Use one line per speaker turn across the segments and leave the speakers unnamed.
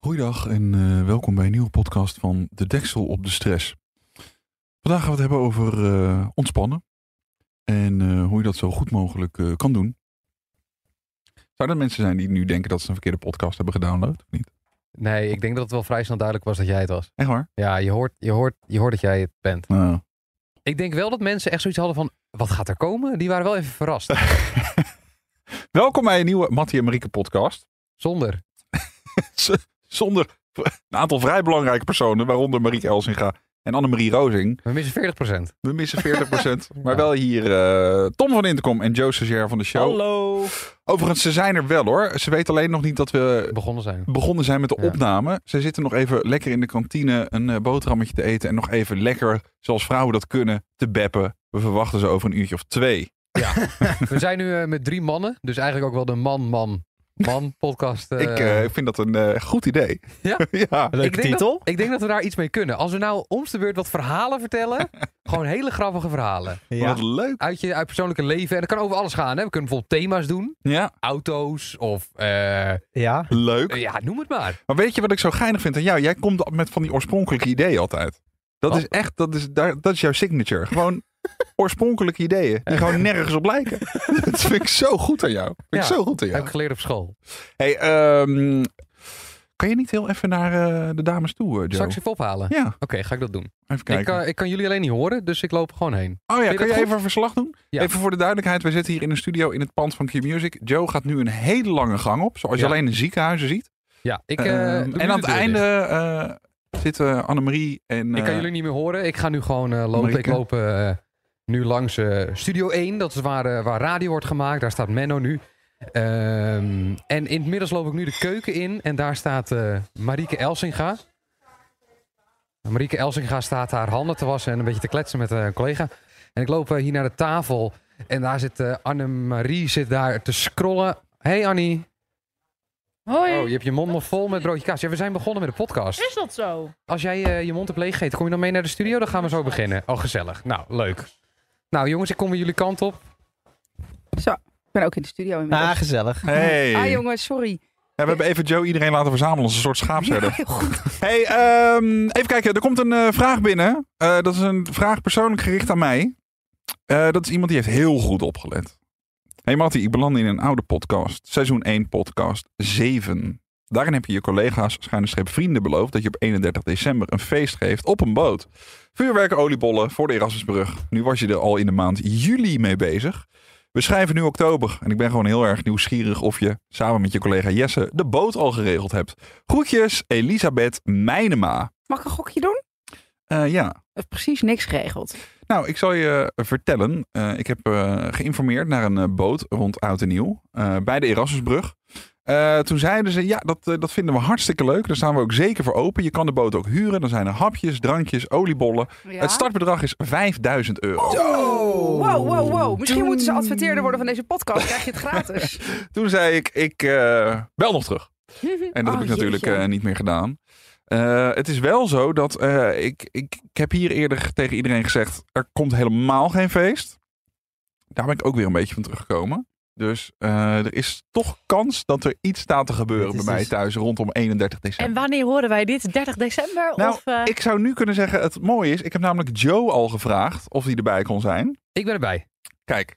Goeiedag en eh, welkom bij een nieuwe podcast van De Deksel op de Stress. Vandaag gaan we het hebben over eh, ontspannen en eh, hoe je dat zo goed mogelijk eh, kan doen. Zouden er mensen zijn die nu denken dat ze een verkeerde podcast hebben gedownload? Of niet?
Nee, ik denk dat het wel vrij snel duidelijk was dat jij het was.
Echt waar?
Ja, je hoort, je hoort, je hoort dat jij het bent.
Nou,
Ik denk wel dat mensen echt zoiets hadden van, wat gaat er komen? Die waren wel even verrast.
welkom bij een nieuwe Mattie en Marieke podcast.
Zonder.
Zonder een aantal vrij belangrijke personen, waaronder Marieke Elsinga en Annemarie Rozing.
We missen 40%.
We missen 40%, maar wel hier eh, Tom van Intercom en Joe Sager van de show.
Hallo.
Overigens, ze zijn er wel hoor. Ze weten alleen nog niet dat we
Begonnen zijn.
begonnen zijn met de
Ja.
opname. Ze zitten nog even lekker in de kantine een eh, boterhammetje te eten. En nog even lekker, zoals vrouwen dat kunnen, te beppen. We verwachten ze over een uurtje of twee.
We zijn nu eh, met drie mannen. Dus eigenlijk ook wel de man, man, man podcast. eh.
ik eh, vind dat een eh, goed idee.
Ja?
ja.
Ik
Leuke
denk
titel.
ik denk dat we daar iets mee kunnen. Als we nou om de beurt wat verhalen vertellen. gewoon hele grappige verhalen.
Ja.
Wat leuk.
Uit je uit persoonlijke leven. En dat kan over alles gaan. Hè? We kunnen bijvoorbeeld thema's doen.
Ja,
Auto's of... eh,
ja.
leuk.
ja, noem het maar.
Maar weet je wat ik zo geinig vind aan jou? Jij komt al met van die oorspronkelijke ideeën altijd. Dat
Wat?
is echt, dat is, daar, dat is jouw signature. Gewoon oorspronkelijke ideeën die gewoon nergens op lijken. dat vind ik zo goed aan jou. Vind ik
Ja.
zo goed aan jou.
Heb ik geleerd op school.
Hey, ehm, kan je niet heel even naar eh, de dames toe, eh, Joe?
Zal ik ze even ophalen?
Ja,
Oké, ga ik dat doen.
even
Ik
kijken.
kan, ik kan jullie alleen niet horen, dus ik loop gewoon heen.
oh ja,
je
kan
dat
je
goed?
even een verslag doen?
Ja.
Even voor de duidelijkheid, we zitten hier in een studio in het pand van Q-Music. Joe gaat nu een hele lange gang op, zoals je
Ja.
alleen in ziekenhuizen ziet.
Ja, ik.
Ehm,
eh, doe nu
en
de
aan het
deur
einde
dicht.
eh, zitten Annemarie en...
Ik
eh,
kan jullie niet meer horen. Ik ga nu gewoon eh, lopen.
Marieke.
Ik loop eh, nu langs eh, Studio 1, dat is waar, eh, waar radio wordt gemaakt. Daar staat Menno nu. Ehm, en inmiddels loop ik nu de keuken in en daar staat eh, Marieke Elsinga. Marieke Elsinga staat haar handen te wassen en een beetje te kletsen met eh, een collega. En ik loop eh, hier naar de tafel en daar zit anne Annemarie zit daar te scrollen. Hey Annie.
Hoi.
Oh, je hebt je mond nog vol met broodje kaas. Ja, we zijn begonnen met de podcast.
Is dat zo?
Als jij eh, je mond hebt leeggegeten, kom je dan mee naar de studio? Dan gaan we zo beginnen. Oh, gezellig. Nou, leuk. Nou, jongens, ik kom weer jullie kant op.
Ik ben ook in de studio inmiddels.
Ah, gezellig.
Hey.
Ah, jongens, sorry.
Ja, we hebben even Joe iedereen laten verzamelen als een soort schaapsherder.
Heel goed.
Hey, ehm, even kijken. Er komt een eh, vraag binnen. Eh, dat is een vraag persoonlijk gericht aan mij. Eh, dat is iemand die heeft heel goed opgelet. Hey Mattie, ik belandde in een oude podcast. Seizoen 1 podcast 7. Daarin heb je je collega's, schijnenstreep vrienden beloofd... dat je op 31 december een feest geeft op een boot. Vuurwerk, oliebollen voor de Erasmusbrug. Nu was je er al in de maand juli mee bezig. We schrijven nu oktober en ik ben gewoon heel erg nieuwsgierig... of je samen met je collega Jesse de boot al geregeld hebt. Groetjes, Elisabeth Mijnema.
Mag ik een gokje doen?
Eh, ja,
Er is precies niks geregeld.
nou, ik zal je vertellen. eh, ik heb eh, geïnformeerd naar een eh, boot rond Oud en Nieuw eh, bij de Erasmusbrug. Eh, toen zeiden ze, ja, dat, eh, dat vinden we hartstikke leuk. Daar staan we ook zeker voor open. Je kan de boot ook huren. Dan zijn er hapjes, drankjes, oliebollen.
Ja? Oh!
Het startbedrag is 5000 euro.
Wow, wow, wow. Misschien moeten ze adverteerder worden van deze podcast. Krijg je het gratis.
Toen zei ik, ik eh, bel nog terug. En dat
Oh,
heb ik natuurlijk
jeetje.
eh, niet meer gedaan. Eh, het is wel zo dat eh, ik, ik, ik heb hier eerder tegen iedereen gezegd: er komt helemaal geen feest. Daar ben ik ook weer een beetje van teruggekomen. Dus eh, er is toch kans dat er iets staat te gebeuren
Dit
bij
is
mij
dus-
thuis rondom 31 december.
En wanneer horen wij dit? 30 december?
Nou,
of, eh,
Ik zou nu kunnen zeggen: het mooie is, ik heb namelijk Joe al gevraagd of hij erbij kon zijn.
Ik ben erbij.
Kijk.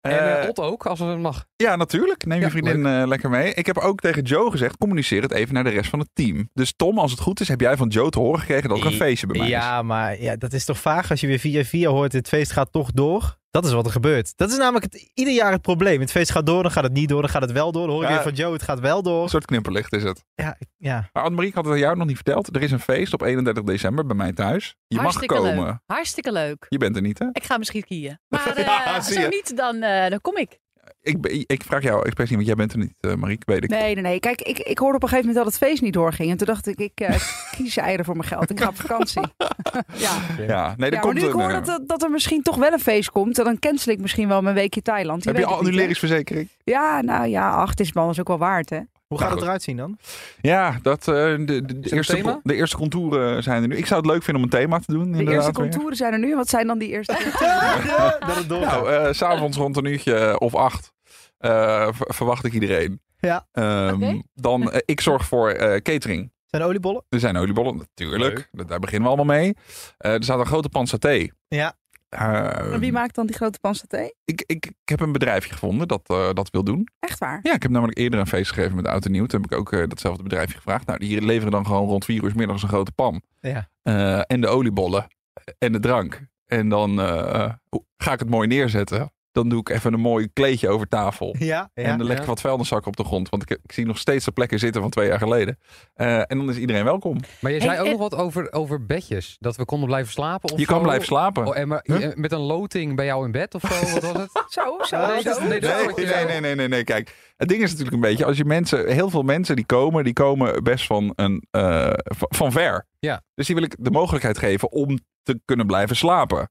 en
Eh,
eh, Otto ook, als het mag.
Ja, natuurlijk. Neem je
Ja,
vriendin eh, lekker mee. Ik heb ook tegen Joe gezegd, communiceer het even naar de rest van het team. Dus Tom, als het goed is, heb jij van Joe te horen gekregen dat er een
I-
feestje bij mij is.
Ja, maar ja, dat is toch vaag als je weer via via hoort, het feest gaat toch door. Dat is wat er gebeurt. Dat is namelijk het, ieder jaar het probleem. Het feest gaat door, dan gaat het niet door, dan gaat het wel door. Dan hoor ik
Ja.
weer van Joe, het gaat wel
Een
door.
soort knipperlicht is het.
Ja, ik- ja.
Maar Annemarie, ik had het aan jou nog niet verteld. Er is een feest op 31 december bij mij thuis. Je
Hartstikke
mag komen.
hartstikke leuk.
Je bent er niet, hè?
Ik ga misschien kiezen. Maar eh,
Ja, zie
zo
je.
niet, dan, eh, dan kom ik.
Ik, ben- ik vraag jou expres niet, want jij bent er niet, eh Marieke, weet ik.
Nee, nee, nee. Kijk, ik, ik hoorde op een gegeven moment dat het feest niet doorging. En toen dacht ik, ik eh, kies eieren voor mijn geld. Ik ga op vakantie. ja.
Ja, nee, er
ja, maar
komt
nu ik
een,
hoor
eh,
dat, er- dat er misschien toch wel een feest komt, dan cancel ik misschien wel mijn weekje Thailand.
Heb je
weet
al
het niet, hè?
annuleringsverzekering?
Ja, nou ja, acht is balans ook wel waard, hè?
Hoe
Ja,
gaat het
goed.
eruit zien dan?
Ja, dat, eh, de, de- de
een
eerste,
thema?
con- de eerste contouren zijn er nu. Ik zou het leuk vinden om een thema te doen.
De
inderdaad
eerste
weer.
contouren zijn er nu. Wat zijn dan die eerste
Dat het doorgaat.
Nou, eh, s s'avonds rond een uurtje of acht eh, ver- verwacht ik iedereen.
Ja.
Ehm,
Oké.
Dan, eh, ik zorg voor eh, catering.
Zijn er oliebollen?
Er zijn oliebollen, natuurlijk.
Leuk.
Dat- Daar beginnen we allemaal mee. Eh, er staat een grote pan saté.
Ja.
Eh,
Maar wie maakt dan die grote pan saté?
ik, ik, ik heb een bedrijfje gevonden dat eh, dat wil doen.
Echt waar?
Ja, ik heb namelijk eerder een feest gegeven met Oud en Nieuw. Toen heb ik ook eh, datzelfde bedrijfje gevraagd. Nou, die leveren dan gewoon rond vier uur 's middags een grote pan.
Ja.
Eh, en de oliebollen. eh, En de drank. En dan eh, ga ik het mooi neerzetten. Dan doe ik even een mooi kleedje over tafel.
Ja. ja.
en dan leg ik
ja.
wat vuilniszakken op de grond. Want ik, ik zie nog steeds de plekken zitten van twee jaar geleden. Eh, en dan is iedereen welkom.
Maar je
Hey, eh,
zei ook
en-
nog wat over, over bedjes. Dat we konden blijven slapen. Of
Je kan
zo.
blijven slapen. Oh,
Oh, en maar, eh, Met een loting bij jou in bed of zo. Wat was het?
Zo, zo,
Ah,
zo.
dat is- nee, dat-
Nee,
Oh, ja.
nee, nee, nee, nee, nee. Kijk, het ding is natuurlijk een beetje, als je mensen, heel veel mensen die komen, die komen best van, een, eh, van, van ver.
Ja.
Dus die wil ik de mogelijkheid geven om te kunnen blijven slapen.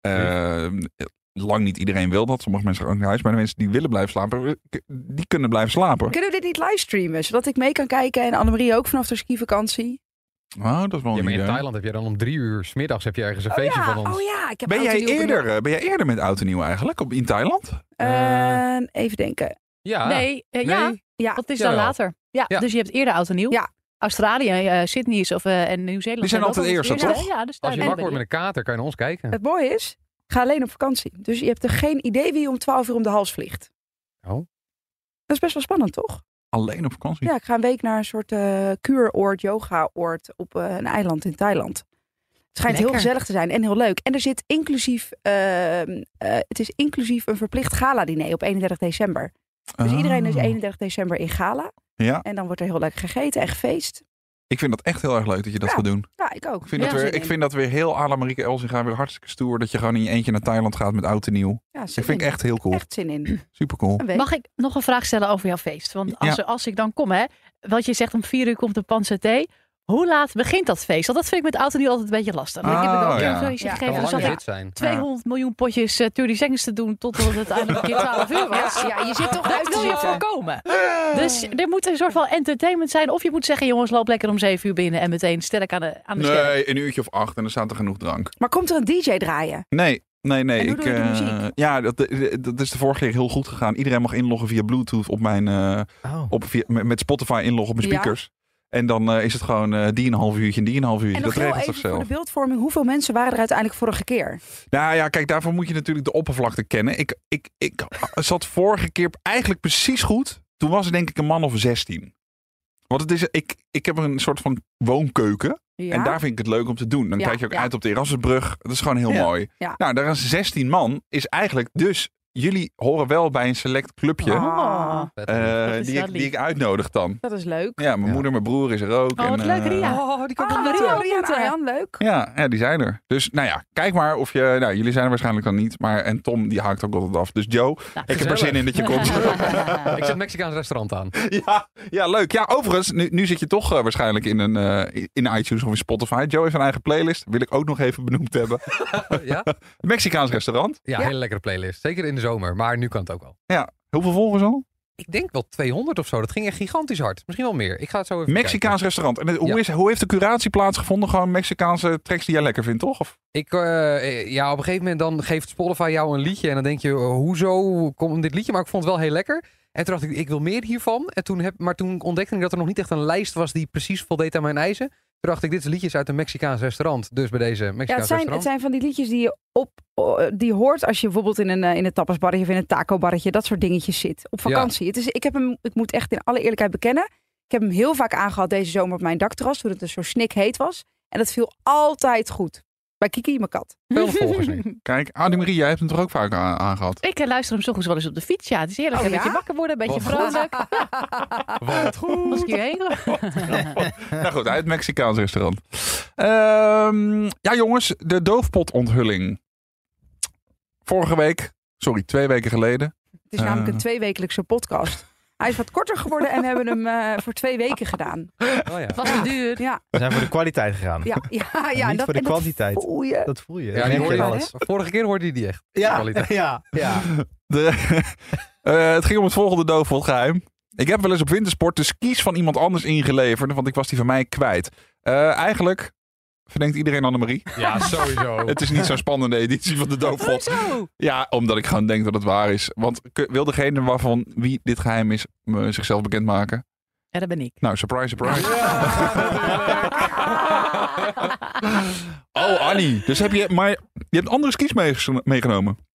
Hm.
Eh, lang niet iedereen wil dat. Sommige mensen gaan ook naar huis. Maar de mensen die willen blijven slapen, eh, die kunnen blijven slapen.
Kunnen we dit niet livestreamen, zodat ik mee kan kijken en Annemarie ook vanaf de skivakantie?
Oh, dat is wel
Ja,
een
maar in
idee.
Thailand heb je dan om drie uur 's middags heb je ergens een feestje van ons.
oh ja, ik heb
Ben
oud en
jij,
nieuw benoemd.
eerder, eh, ben jij eerder met Oud en Nieuw eigenlijk op, in Thailand?
Eh,
Eh, even denken.
ja.
Nee, eh, ja.
Ah. Nee?
Ja,
Dat is dan
jawel.
later. Ja,
Ja.
dus je hebt eerder oud en nieuw.
Ja.
Australië, eh, Sydney is of, eh, en Nieuw-Zeeland.
Die zijn
dat
altijd
dan
eerste,
het eerste.
toch?
Ja, dus daar
Als je
ben
wakker wordt
ik.
met een kater, kan je naar ons kijken.
het mooie is, ik ga alleen op vakantie. Dus je hebt er geen idee wie je om 12 uur om de hals vliegt.
Oh.
Dat is best wel spannend, toch?
Alleen op vakantie?
Ja, ik ga een week naar een soort eh, kuuroord, yogaoord op eh, een eiland in Thailand. Het schijnt heel
Lekker.
gezellig te zijn en heel leuk. En er zit inclusief, ehm, eh, het is inclusief een verplicht gala-diner op 31 december. Dus iedereen is
Ah.
31 december in gala.
Ja.
En dan wordt er heel lekker gegeten en gefeest.
Ik vind dat echt heel erg leuk dat je dat
Ja.
gaat doen.
Ja, ik ook.
Ik vind,
Ja.
dat weer, ik vind dat weer heel à la Marieke Elsinga weer hartstikke stoer. Dat je gewoon in je eentje naar Thailand gaat met oud en nieuw.
Ja,
Dat vind ik echt heel cool.
echt zin in.
Super cool.
Een week.
Mag ik nog een vraag stellen over jouw feest? Want als,
Ja.
als ik dan kom, hè, want je zegt om vier uur komt de pan saté. Hoe laat begint dat feest? Want dat vind ik met auto nu altijd een beetje lastig. Want ik heb
Oh,
al een keer
ja.
een feestje
Ja.
kan
gegeven.
een
Er
lange
zat
Ja.
rit zijn.
200 miljoen potjes eh 30 seconds te doen totdat het uiteindelijk een keer 12 uur was.
Ja, Ah, ja, je zit toch
Dat
uit te
wil je
zitten.
voorkomen. Dus er moet een soort van entertainment zijn. Of je moet zeggen, jongens, loop lekker om 7 uur binnen en meteen sterk aan de, aan de sterren.
Nee, een uurtje of acht en dan staat er genoeg drank.
Maar komt er een DJ draaien?
Nee, nee, nee.
En hoe
ik,
doe je de
eh,
muziek?
ja, dat, dat is de vorige keer heel goed gegaan. Iedereen mag inloggen via Bluetooth op mijn, eh,
Oh.
op, via- met met Spotify inloggen op mijn
Ja.
speakers. En dan eh, is het gewoon eh, die een half uurtje en die een half uurtje.
En nog
dat
heel
regelt
even voor
zichzelf.
de beeldvorming. Hoeveel mensen waren er uiteindelijk vorige keer?
Nou ja, kijk, daarvoor moet je natuurlijk de oppervlakte kennen. Ik, ik, ik zat vorige keer eigenlijk precies goed. Toen was het denk ik een man of 16. Want het is, ik, ik heb een soort van woonkeuken.
Ja.
En daar vind ik het leuk om te doen. Dan
Ja,
kijk je ook
ja.
uit op de Erasmusbrug. Dat is gewoon heel
Ja,
mooi.
ja.
Nou, daar is 16 man. Is eigenlijk dus... Jullie horen wel bij een select clubje.
Ah,
Oh.
Vet.
eh,
dat is
die,
wel
ik, die
lief.
ik uitnodig dan.
Dat is leuk.
Ja, mijn
Ja.
moeder, mijn broer is er ook.
Oh, wat
en,
leuk,
eh,
Ria.
Oh, die
Ah,
Maria
Maria, en
ontmoeten.
Arjan, leuk.
Ja, ja, die zijn er. Dus nou ja, kijk maar of je... Nou, jullie zijn er waarschijnlijk dan niet. Maar, en Tom, die haakt ook altijd af. Dus Joe,
Nou,
ik heb er
gezellig.
zin in dat je komt.
Oh.
Ik zet een Mexicaans restaurant aan.
ja, ja, leuk. Ja, overigens, nu, nu zit je toch eh, waarschijnlijk in, een, eh, in iTunes of in Spotify. Joe heeft een eigen playlist. Wil ik ook nog even benoemd hebben.
ja?
Mexicaans restaurant.
ja, hele lekkere playlist. Zeker in de zomer, maar nu kan het ook wel.
Hoeveel volgers al?
Ik denk wel 200 of zo. Dat ging echt gigantisch hard. Misschien wel meer. Ik ga het zo even
Mexicaans restaurant. En het- hoe,
Ja.
is, hoe heeft de curatie plaatsgevonden? Gewoon Mexicaanse tracks die jij lekker vindt, toch? Of,
Ik, eh, eh, ja, op een gegeven moment dan geeft Spotify jou een liedje. En dan denk je, eh, hoezo komt dit liedje? Maar ik vond het wel heel lekker. En toen dacht ik, ik wil meer hiervan. En toen heb, maar toen ontdekte ik dat er nog niet echt een lijst was die precies voldeed aan mijn eisen. Toen dacht ik, dit is liedjes uit een Mexicaans restaurant. Dus bij deze Mexicaans
Ja, het, zijn, het
restaurant.
zijn van die liedjes die je op, oh, eh, die hoort als je bijvoorbeeld in een, eh, in een tapasbarretje of in een tacobarretje, dat soort dingetjes zit. Op
Ja.
vakantie. Het is, ik, heb hem, ik moet echt in alle eerlijkheid bekennen. Ik heb hem heel vaak aangehad deze zomer op mijn dakterras, toen het dus zo snik heet was. En dat viel altijd goed. Bij Kiki, mijn kat.
200 volgers nu.
kijk, Annemarie, jij hebt hem toch ook vaak a- aangehad?
Ik eh, luister hem soms wel eens op de fiets. Ja, het is heerlijk.
Oh,
een
ja?
beetje wakker worden, een beetje
Wat goed.
vrolijk.
Wat
Als
goed.
ik hierheen ga.
nou goed, uit het Mexicaans restaurant. Ehm, ja, jongens, de doofpotonthulling. Vorige week, sorry, twee weken geleden.
Het is
Eh.
namelijk een tweewekelijkse podcast. Hij is wat korter geworden en we hebben hem eh, voor twee weken gedaan.
Oh, ja.
Het was te duur.
Ja,
We zijn voor de kwaliteit gegaan.
ja, ja.
En
ja en
niet
dat,
voor de
en dat
kwantiteit.
voel je.
Dat voel
Ja,
je. Dat
die
merk
hoor
je
je
aan
wel,
alles.
Vorige keer hoorde je die echt.
Ja,
Kwaliteit.
ja, ja.
De, Eh, het ging om het volgende doofpotgeheim. Ik heb wel eens op wintersport de skis van iemand anders ingeleverd, want ik was die van mij kwijt. Eh, eigenlijk verdenkt iedereen Annemarie.
Ja, sowieso.
Het is niet zo'n spannende editie van de
Oh,
doofpot.
Hoezo?
Ja, omdat ik gewoon denk dat het waar is. Want k- wil degene waarvan wie dit geheim is me zichzelf bekendmaken?
Ja, dat ben ik.
Nou, surprise, surprise. Oh, Annie. Dus heb je, maar je hebt andere skis meege- meegenomen.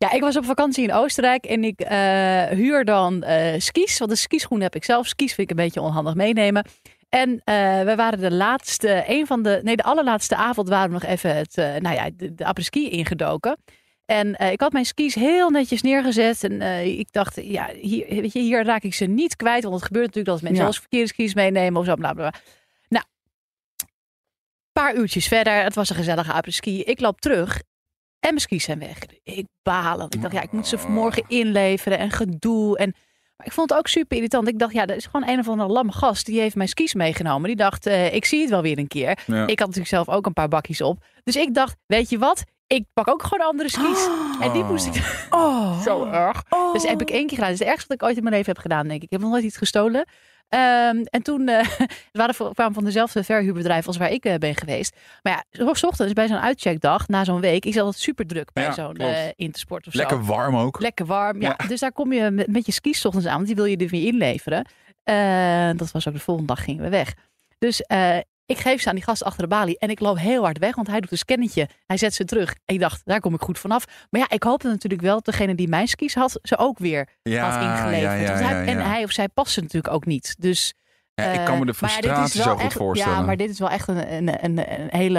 Ja, ik was op vakantie in Oostenrijk en ik eh, huur dan eh, skis. Want de skischoenen heb ik zelf. Skis vind ik een beetje onhandig meenemen. En eh we waren de laatste, een van de, nee, de allerlaatste avond waren we nog even het, eh, nou ja, de, de apres-ski ingedoken. En eh, ik had mijn skis heel netjes neergezet. En eh, ik dacht, ja, hier, weet je, hier raak ik ze niet kwijt. Want het gebeurt natuurlijk dat mensen
Ja.
zelfs verkeerde skis meenemen of zo. Bla, bla, bla. Nou, een paar uurtjes verder. Het was een gezellige apres-ski. Ik loop terug en mijn skis zijn weg. Ik balen. Ik dacht, ja, ik moet ze vanmorgen inleveren en gedoe. En, maar ik vond het ook super irritant. Ik dacht, ja, er is gewoon een of andere lamme gast. Die heeft mijn skis meegenomen. Die dacht, eh, ik zie het wel weer een keer.
Ja.
Ik had natuurlijk zelf ook een paar bakjes op. Dus ik dacht, weet je wat? Ik pak ook gewoon andere skis. En die moest ik...
Oh.
Zo erg.
Oh.
Dus heb ik één keer gedaan. Dat is het ergste wat ik ooit in mijn leven heb gedaan, denk ik. Ik heb nog nooit iets gestolen. Ehm, en toen eh, het waren, voor- kwamen van dezelfde verhuurbedrijf als waar ik eh, ben geweest. Maar ja, s ochtends bij zo'n uitcheckdag, na zo'n week, is dat super druk bij
Ja,
zo'n
klopt.
eh, intersport of zo.
Lekker warm ook.
Lekker warm. Ja. Dus daar kom je met, met je skis 's ochtends aan, want die wil je er weer inleveren. Eh, dat was ook de volgende dag gingen we weg. Dus eh, ik geef ze aan die gast achter de balie en ik loop heel hard weg, want hij doet een scannetje. Hij zet ze terug. Ik dacht, daar kom ik goed vanaf. Maar ja, ik hoopte natuurlijk wel dat degene die mijn skis had, ze ook weer
ja,
had ingeleverd.
Ja, ja,
Want
ja,
hij- En
ja.
hij of zij paste natuurlijk ook niet. Dus
Ja, ik
eh,
kan me de
maar ja, dit is
frustratie
wel
zo goed
echt-
voorstellen.
Ja, maar dit is wel echt een, een, een, een hele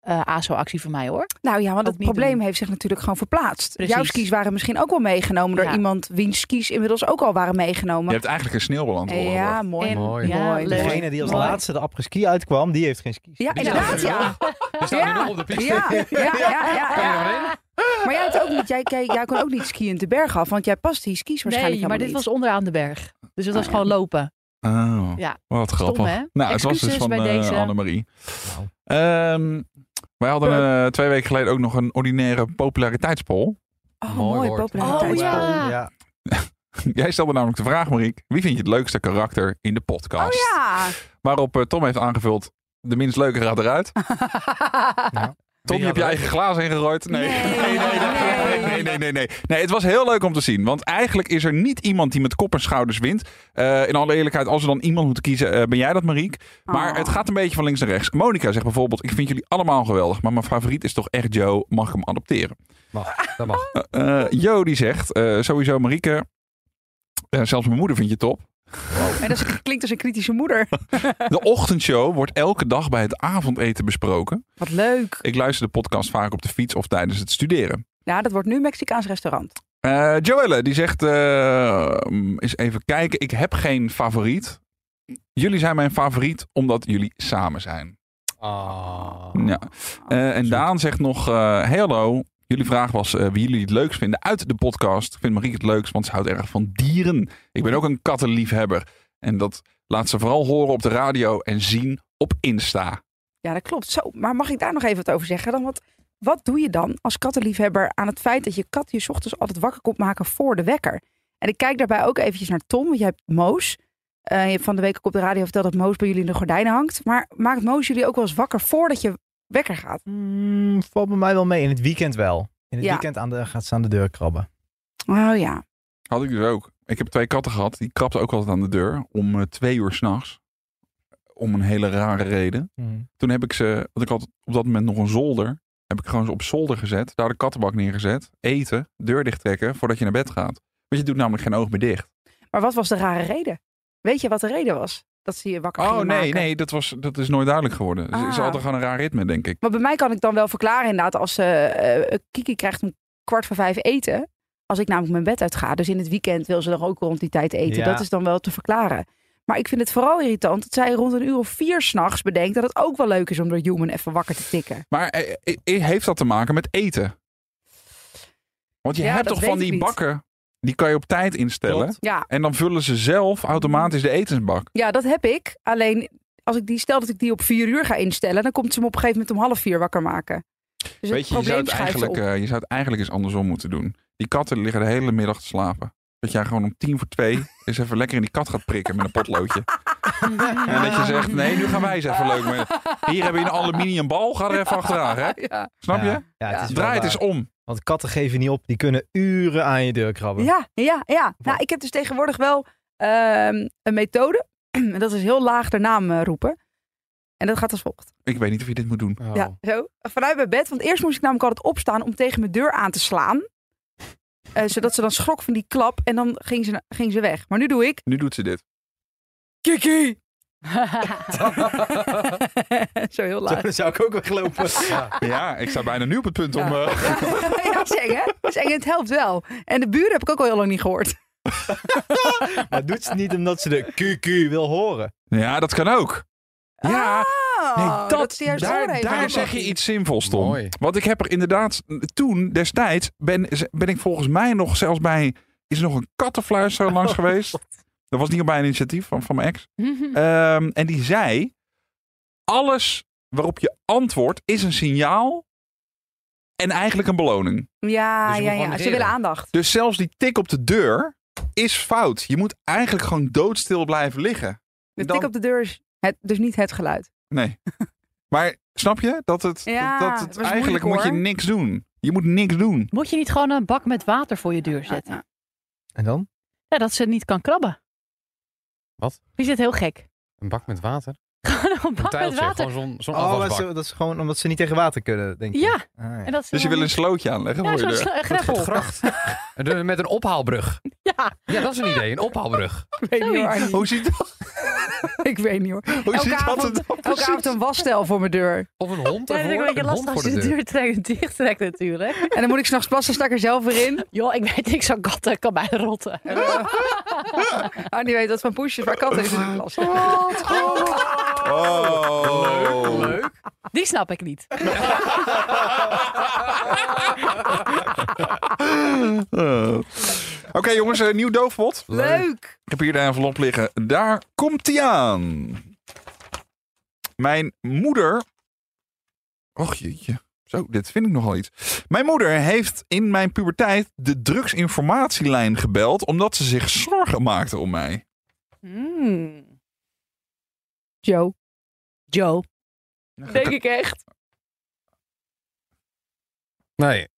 eh, ASO-actie van mij hoor.
Nou ja, want
Ook
het
niet
probleem
doen.
heeft zich natuurlijk gewoon verplaatst.
Precies.
Jouw skis waren misschien ook wel meegenomen door
Ja.
iemand wiens skis inmiddels ook al waren
Je
meegenomen.
hebt eigenlijk een sneeuwbeland
Eh, ja, mooi.
En-
Mooi.
Ja, leuk.
Degene die als
Mooi.
laatste de apres-ski uitkwam, die heeft geen skis.
Ja,
Die
inderdaad,
staan
ja.
We staan
Ja.
nu nog op de piste.
Ja, ja, ja, ja, ja.
Kan je er nog in?
Maar jij, had ook niet, jij, jij, jij kon ook niet skiën te berg af, want jij past die skis waarschijnlijk
Nee, maar dit
helemaal
was onderaan de berg. Dus het was gewoon lopen.
Oh,
Ja.
wat grappig.
hè?
Nou, het was dus
Excuses
van
bij
eh,
deze.
Annemarie. Ehm, wij hadden eh, twee weken geleden ook nog een ordinaire populariteitspol.
niet.
Mooi
Oh, mooi,
woord.
Oh,
populariteit.
ja.
ja.
Jij stelde namelijk de vraag, Mariek. Wie vind je het leukste karakter in de podcast?
Oh,
Oh,
ja.
Waarop eh, Tom heeft aangevuld. De minst leuke gaat eruit. Tom, je hebt je eigen glazen ingegooid. Nee. Nee,
Nee.
nee, nee, nee, nee, nee, nee, nee. Nee, het was heel leuk om te zien. Want eigenlijk is er niet iemand die met kop en schouders wint. Eh, in alle eerlijkheid, als we dan iemand moeten kiezen, eh, ben jij dat, Mariek. Maar
Oh.
het gaat een beetje van links naar rechts. Monica zegt bijvoorbeeld, ik vind jullie allemaal geweldig. Maar mijn favoriet is toch echt Joe. Mag ik hem adopteren?
Mag, dat mag.
Eh, Jo die zegt, eh, sowieso Marieke. Eh, zelfs mijn moeder vind je top.
En dat is- klinkt als een kritische moeder.
De ochtendshow wordt elke dag bij het avondeten besproken.
Wat leuk.
Ik luister de podcast vaak op de fiets of tijdens het studeren.
Ja, dat wordt nu Mexicaans restaurant.
Eh Joelle, die zegt, eh, eens even kijken, ik heb geen favoriet. Jullie zijn mijn favoriet omdat jullie samen zijn.
Ah.
Ja. Eh, en
Zo.
Daan zegt nog, eh, hey hallo, jullie vraag was eh, wie jullie het leukst vinden uit de podcast. Ik vind Marieke het leukst, want ze houdt erg van dieren. Ik ben ook een kattenliefhebber. En dat laat ze vooral horen op de radio en zien op Insta.
Ja, dat klopt. Zo, maar mag ik daar nog even wat over zeggen dan? Want wat doe je dan als kattenliefhebber aan het feit dat je kat je 's ochtends altijd wakker komt maken voor de wekker? En ik kijk daarbij ook eventjes naar Tom, want jij hebt Moos. Eh, je hebt van de week ook op de radio verteld dat Moos bij jullie in de gordijnen hangt. Maar maakt Moos jullie ook wel eens wakker voordat je wekker gaat?
Mm, valt bij mij wel mee. In het weekend wel. In het
Ja.
weekend aan de, gaat ze aan de deur krabben.
Oh ja.
Had ik dus ook. Ik heb twee katten gehad. Die krapten ook altijd aan de deur om eh, twee uur s'nachts. Om een hele rare reden.
Hmm.
Toen heb ik ze, want ik had op dat moment nog een zolder. Heb ik gewoon ze op zolder gezet. Daar de kattenbak neergezet. Eten, deur dicht trekken voordat je naar bed gaat. Want je doet namelijk geen oog meer dicht.
Maar wat was de rare reden? Weet je wat de reden was? Dat ze je wakker
Oh
gingen
nee,
maken?
nee, dat, was, dat is nooit duidelijk geworden. Ze- Ze
Ah.
hadden gewoon een raar ritme, denk ik.
Maar bij mij kan ik dan wel verklaren inderdaad als eh, eh, Kiki krijgt om kwart voor vijf eten. Als ik namelijk mijn bed uitga. Dus in het weekend wil ze dan ook rond die tijd eten.
Ja.
Dat is dan wel te verklaren. Maar ik vind het vooral irritant dat zij rond een uur of vier s'nachts bedenkt dat het ook wel leuk is om door Human even wakker te tikken.
Maar eh, eh, eh, heeft dat te maken met eten? Want je
Ja,
hebt
dat
toch
weet
van
ik
die
niet.
bakken, die kan je op tijd instellen.
Klopt.
Ja,
En dan vullen ze zelf automatisch de etensbak.
ja, dat heb ik. Alleen als ik die stel dat ik die op vier uur ga instellen, dan komt ze me op een gegeven moment om half vier wakker maken.
Weet
Dus
je, je
probleem
zou, het
schuift
eigenlijk,
op.
eh, je zou het eigenlijk eens andersom moeten doen. Die katten liggen de hele middag te slapen. Dat jij gewoon om tien voor twee eens even lekker in die kat gaat prikken met een potloodje. En dat je zegt, nee, nu gaan wij eens even leuk. mee. Hier hebben we een aluminiumbal, ga er even achteraan. Hè?
Ja.
Snap je?
Ja, het is wel
Draai het
waar.
eens om.
Want katten geven niet op. Die kunnen uren aan je deur krabben.
Ja, ja, ja. Nou, ik heb dus tegenwoordig wel ehm, een methode. En dat is heel laag de naam eh, roepen. En dat gaat als volgt.
Ik weet niet of je dit moet doen.
Oh.
Ja, zo. Vanuit mijn bed. Want eerst moest ik namelijk altijd opstaan om tegen mijn deur aan te slaan. Eh, zodat ze dan schrok van die klap en dan ging ze, ging ze weg. Maar nu doe ik...
Nu doet ze dit.
Kiki!
Ja.
zo heel laag.
Dan zou ik ook weglopen.
Ja, ik sta bijna nu op het punt om...
Ja.
eh,
ja, dat is eng, hè? Dat is eng, het helpt wel. En de buren heb ik ook al heel lang niet gehoord.
Maar doet ze niet omdat ze de QQ wil horen.
Ja, dat kan ook. Ja,
Ah,
nee, dat,
is de juiste
daar,
oorreden.
daar zeg je iets zinvols, Tom.
Mooi.
Want ik heb er inderdaad toen, destijds, ben, ben ik volgens mij nog zelfs bij... Is er nog een kattenfluister langs
Oh,
geweest? Dat was niet bij een initiatief van, van mijn ex. Ehm, en die zei: alles waarop je antwoordt is een signaal en eigenlijk een beloning.
Ja,
Dus je
ja,
moet
ja. Ze
honoreren.
willen aandacht.
Dus zelfs die tik op de deur is fout. Je moet eigenlijk gewoon doodstil blijven liggen.
De
Dan-
tik op de deur is het, dus niet het geluid.
Nee. Maar snap je dat het,
Ja,
dat
het
het
was
eigenlijk
moeilijk,
moet je
hoor.
niks doen. Je moet niks doen. Dus
Moet je niet gewoon een bak met water voor je deur zetten?
En dan?
Ja, dat ze niet kan krabben.
Wat?
Wie zit heel gek?
Een bak met water.
Gewoon een
Een
bak met
tijltje,
water.
gewoon zo'n zo'n
Oh, dat
afwasbak.
is, dat is gewoon omdat ze niet tegen water kunnen, denk ik.
Ja,
Ah, ja.
en dat ze
Dus je
dan-
wil een slootje aanleggen
ja,
voor je
zo'n
deur.
sl- greffel.
Gracht. De- Met een ophaalbrug.
Ja,
Ja, dat is een idee. Een ophaalbrug.
Ik weet niet, hoor,
zoiets.
Arnie.
Hoe ziet dat?
Ik weet niet hoor.
Hoe
Elke
ziet dat
avond-
er dan
Elke
precies?
avond een wasstijl voor mijn deur.
Of een hond
Ja, dat is ook
ervoor.
een beetje
een hond voor
lastig als
de
je de
deur.
deur trekt, dicht trekt natuurlijk.
En dan moet ik s'nachts plassen, sta ik er zelf weer in.
Joh, ik weet niks van katten, kan mij rotten.
Arnie Ah, weet dat van poesjes, maar katten is het lastig.
Oh.
Leuk.
Die snap ik niet.
Eh. Oké jongens, een nieuw doofpot.
Leuk!
Ik heb hier de envelop liggen. Daar komt hij aan. Mijn moeder. Och jeetje. Zo, dit vind ik nogal iets. Mijn moeder heeft in mijn puberteit de drugsinformatielijn gebeld. omdat ze zich zorgen maakte om mij.
Mm.
Joe.
Joe.
Nou,
Denk ik echt.
Nee.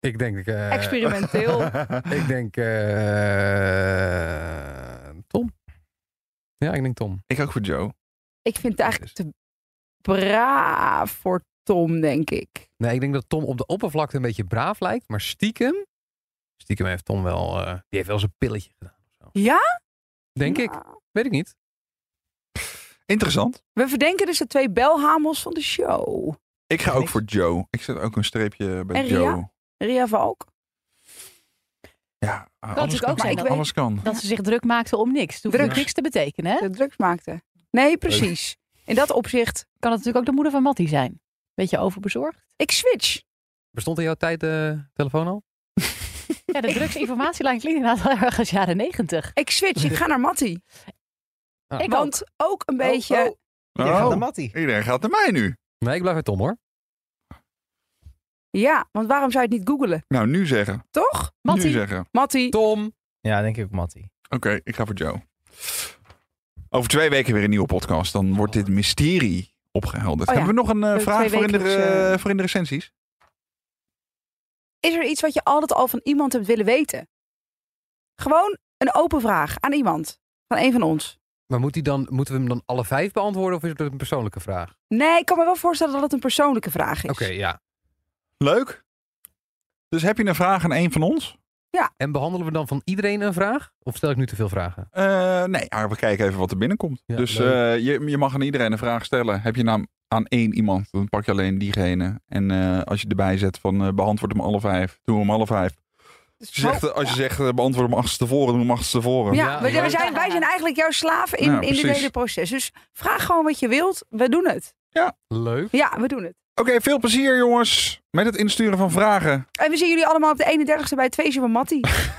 Ik denk... eh,
Experimenteel.
Ik denk... eh, Tom. Ja, ik denk Tom.
Ik ook voor Joe.
Ik vind het eigenlijk te braaf voor Tom, denk ik.
Nee, ik denk dat Tom op de oppervlakte een beetje braaf lijkt. Maar stiekem... Stiekem heeft Tom wel... eh, die heeft wel zijn pilletje gedaan. of zo.
Ja?
Denk ik. Weet ik niet.
Interessant.
We verdenken dus de twee belhamels van de show.
Ik ga ook voor Joe. Ik zet ook een streepje bij
En Ria?
Joe.
Ria Valk.
Ja, alles
natuurlijk
kan.
ook zijn dat-
alles kan.
Dat ze zich druk maakte om niks. Het hoeft
Drugs.
natuurlijk niks te betekenen, hè?
de drugs maakte. Nee, precies. In dat opzicht,
Kan het natuurlijk ook de moeder van Mattie zijn. Beetje overbezorgd.
ik switch.
Bestond in jouw tijd de telefoon al?
Ja, de drugsinformatielijn klinkt inderdaad wel erg als jaren negentig.
Ik switch, ik ga naar Mattie.
Ah.
Ik ook.
Want ook een beetje...
Oh, oh, je gaat
Oh,
naar Mattie.
iedereen gaat naar mij nu.
Nee, ik blijf bij Tom hoor.
Ja, want waarom zou je het niet googelen?
Nou, nu zeggen.
Toch?
Nu
Mattie.
zeggen.
Mattie.
Tom.
Ja, denk ik ook Mattie.
Oké, ik ga voor Joe. Over twee weken weer een nieuwe podcast. Dan wordt dit mysterie opgehelderd.
Oh ja.
Hebben we nog een eh,
Leuk,
vraag voor in, de,
tweewekelijks,
eh, voor in de recensies?
Is er iets wat je altijd al van iemand hebt willen weten? Gewoon een open vraag aan iemand. Van een van ons.
Maar moet die dan, moeten we hem dan alle vijf beantwoorden of is het een persoonlijke vraag?
Nee, ik kan me wel voorstellen dat het een persoonlijke vraag is.
Oké, ja.
Leuk. Dus heb je een vraag aan een van ons?
En behandelen we dan van iedereen een vraag? Of stel ik nu te veel vragen?
Eh, nee, maar we kijken even wat er binnenkomt.
Ja,
dus
leuk.
eh, je, je mag aan iedereen een vraag stellen. Heb je naam aan één iemand, dan pak je alleen diegene. En eh, als je erbij zet van eh, beantwoord hem alle vijf, doen we hem alle vijf. Als je zegt, eh, als je zegt eh, beantwoord hem achterstevoren, doen we hem achterstevoren.
Dus Oh. Ja,
Ja,
we- we
leuk.
zijn, wij zijn eigenlijk jouw slaven in,
Ja,
in dit
precies.
hele proces. Dus vraag gewoon wat je wilt. We doen het.
Leuk.
Ja, we doen het.
Oké, veel plezier jongens met het insturen van vragen.
En we zien jullie allemaal op de 31ste bij het feestje van Mattie.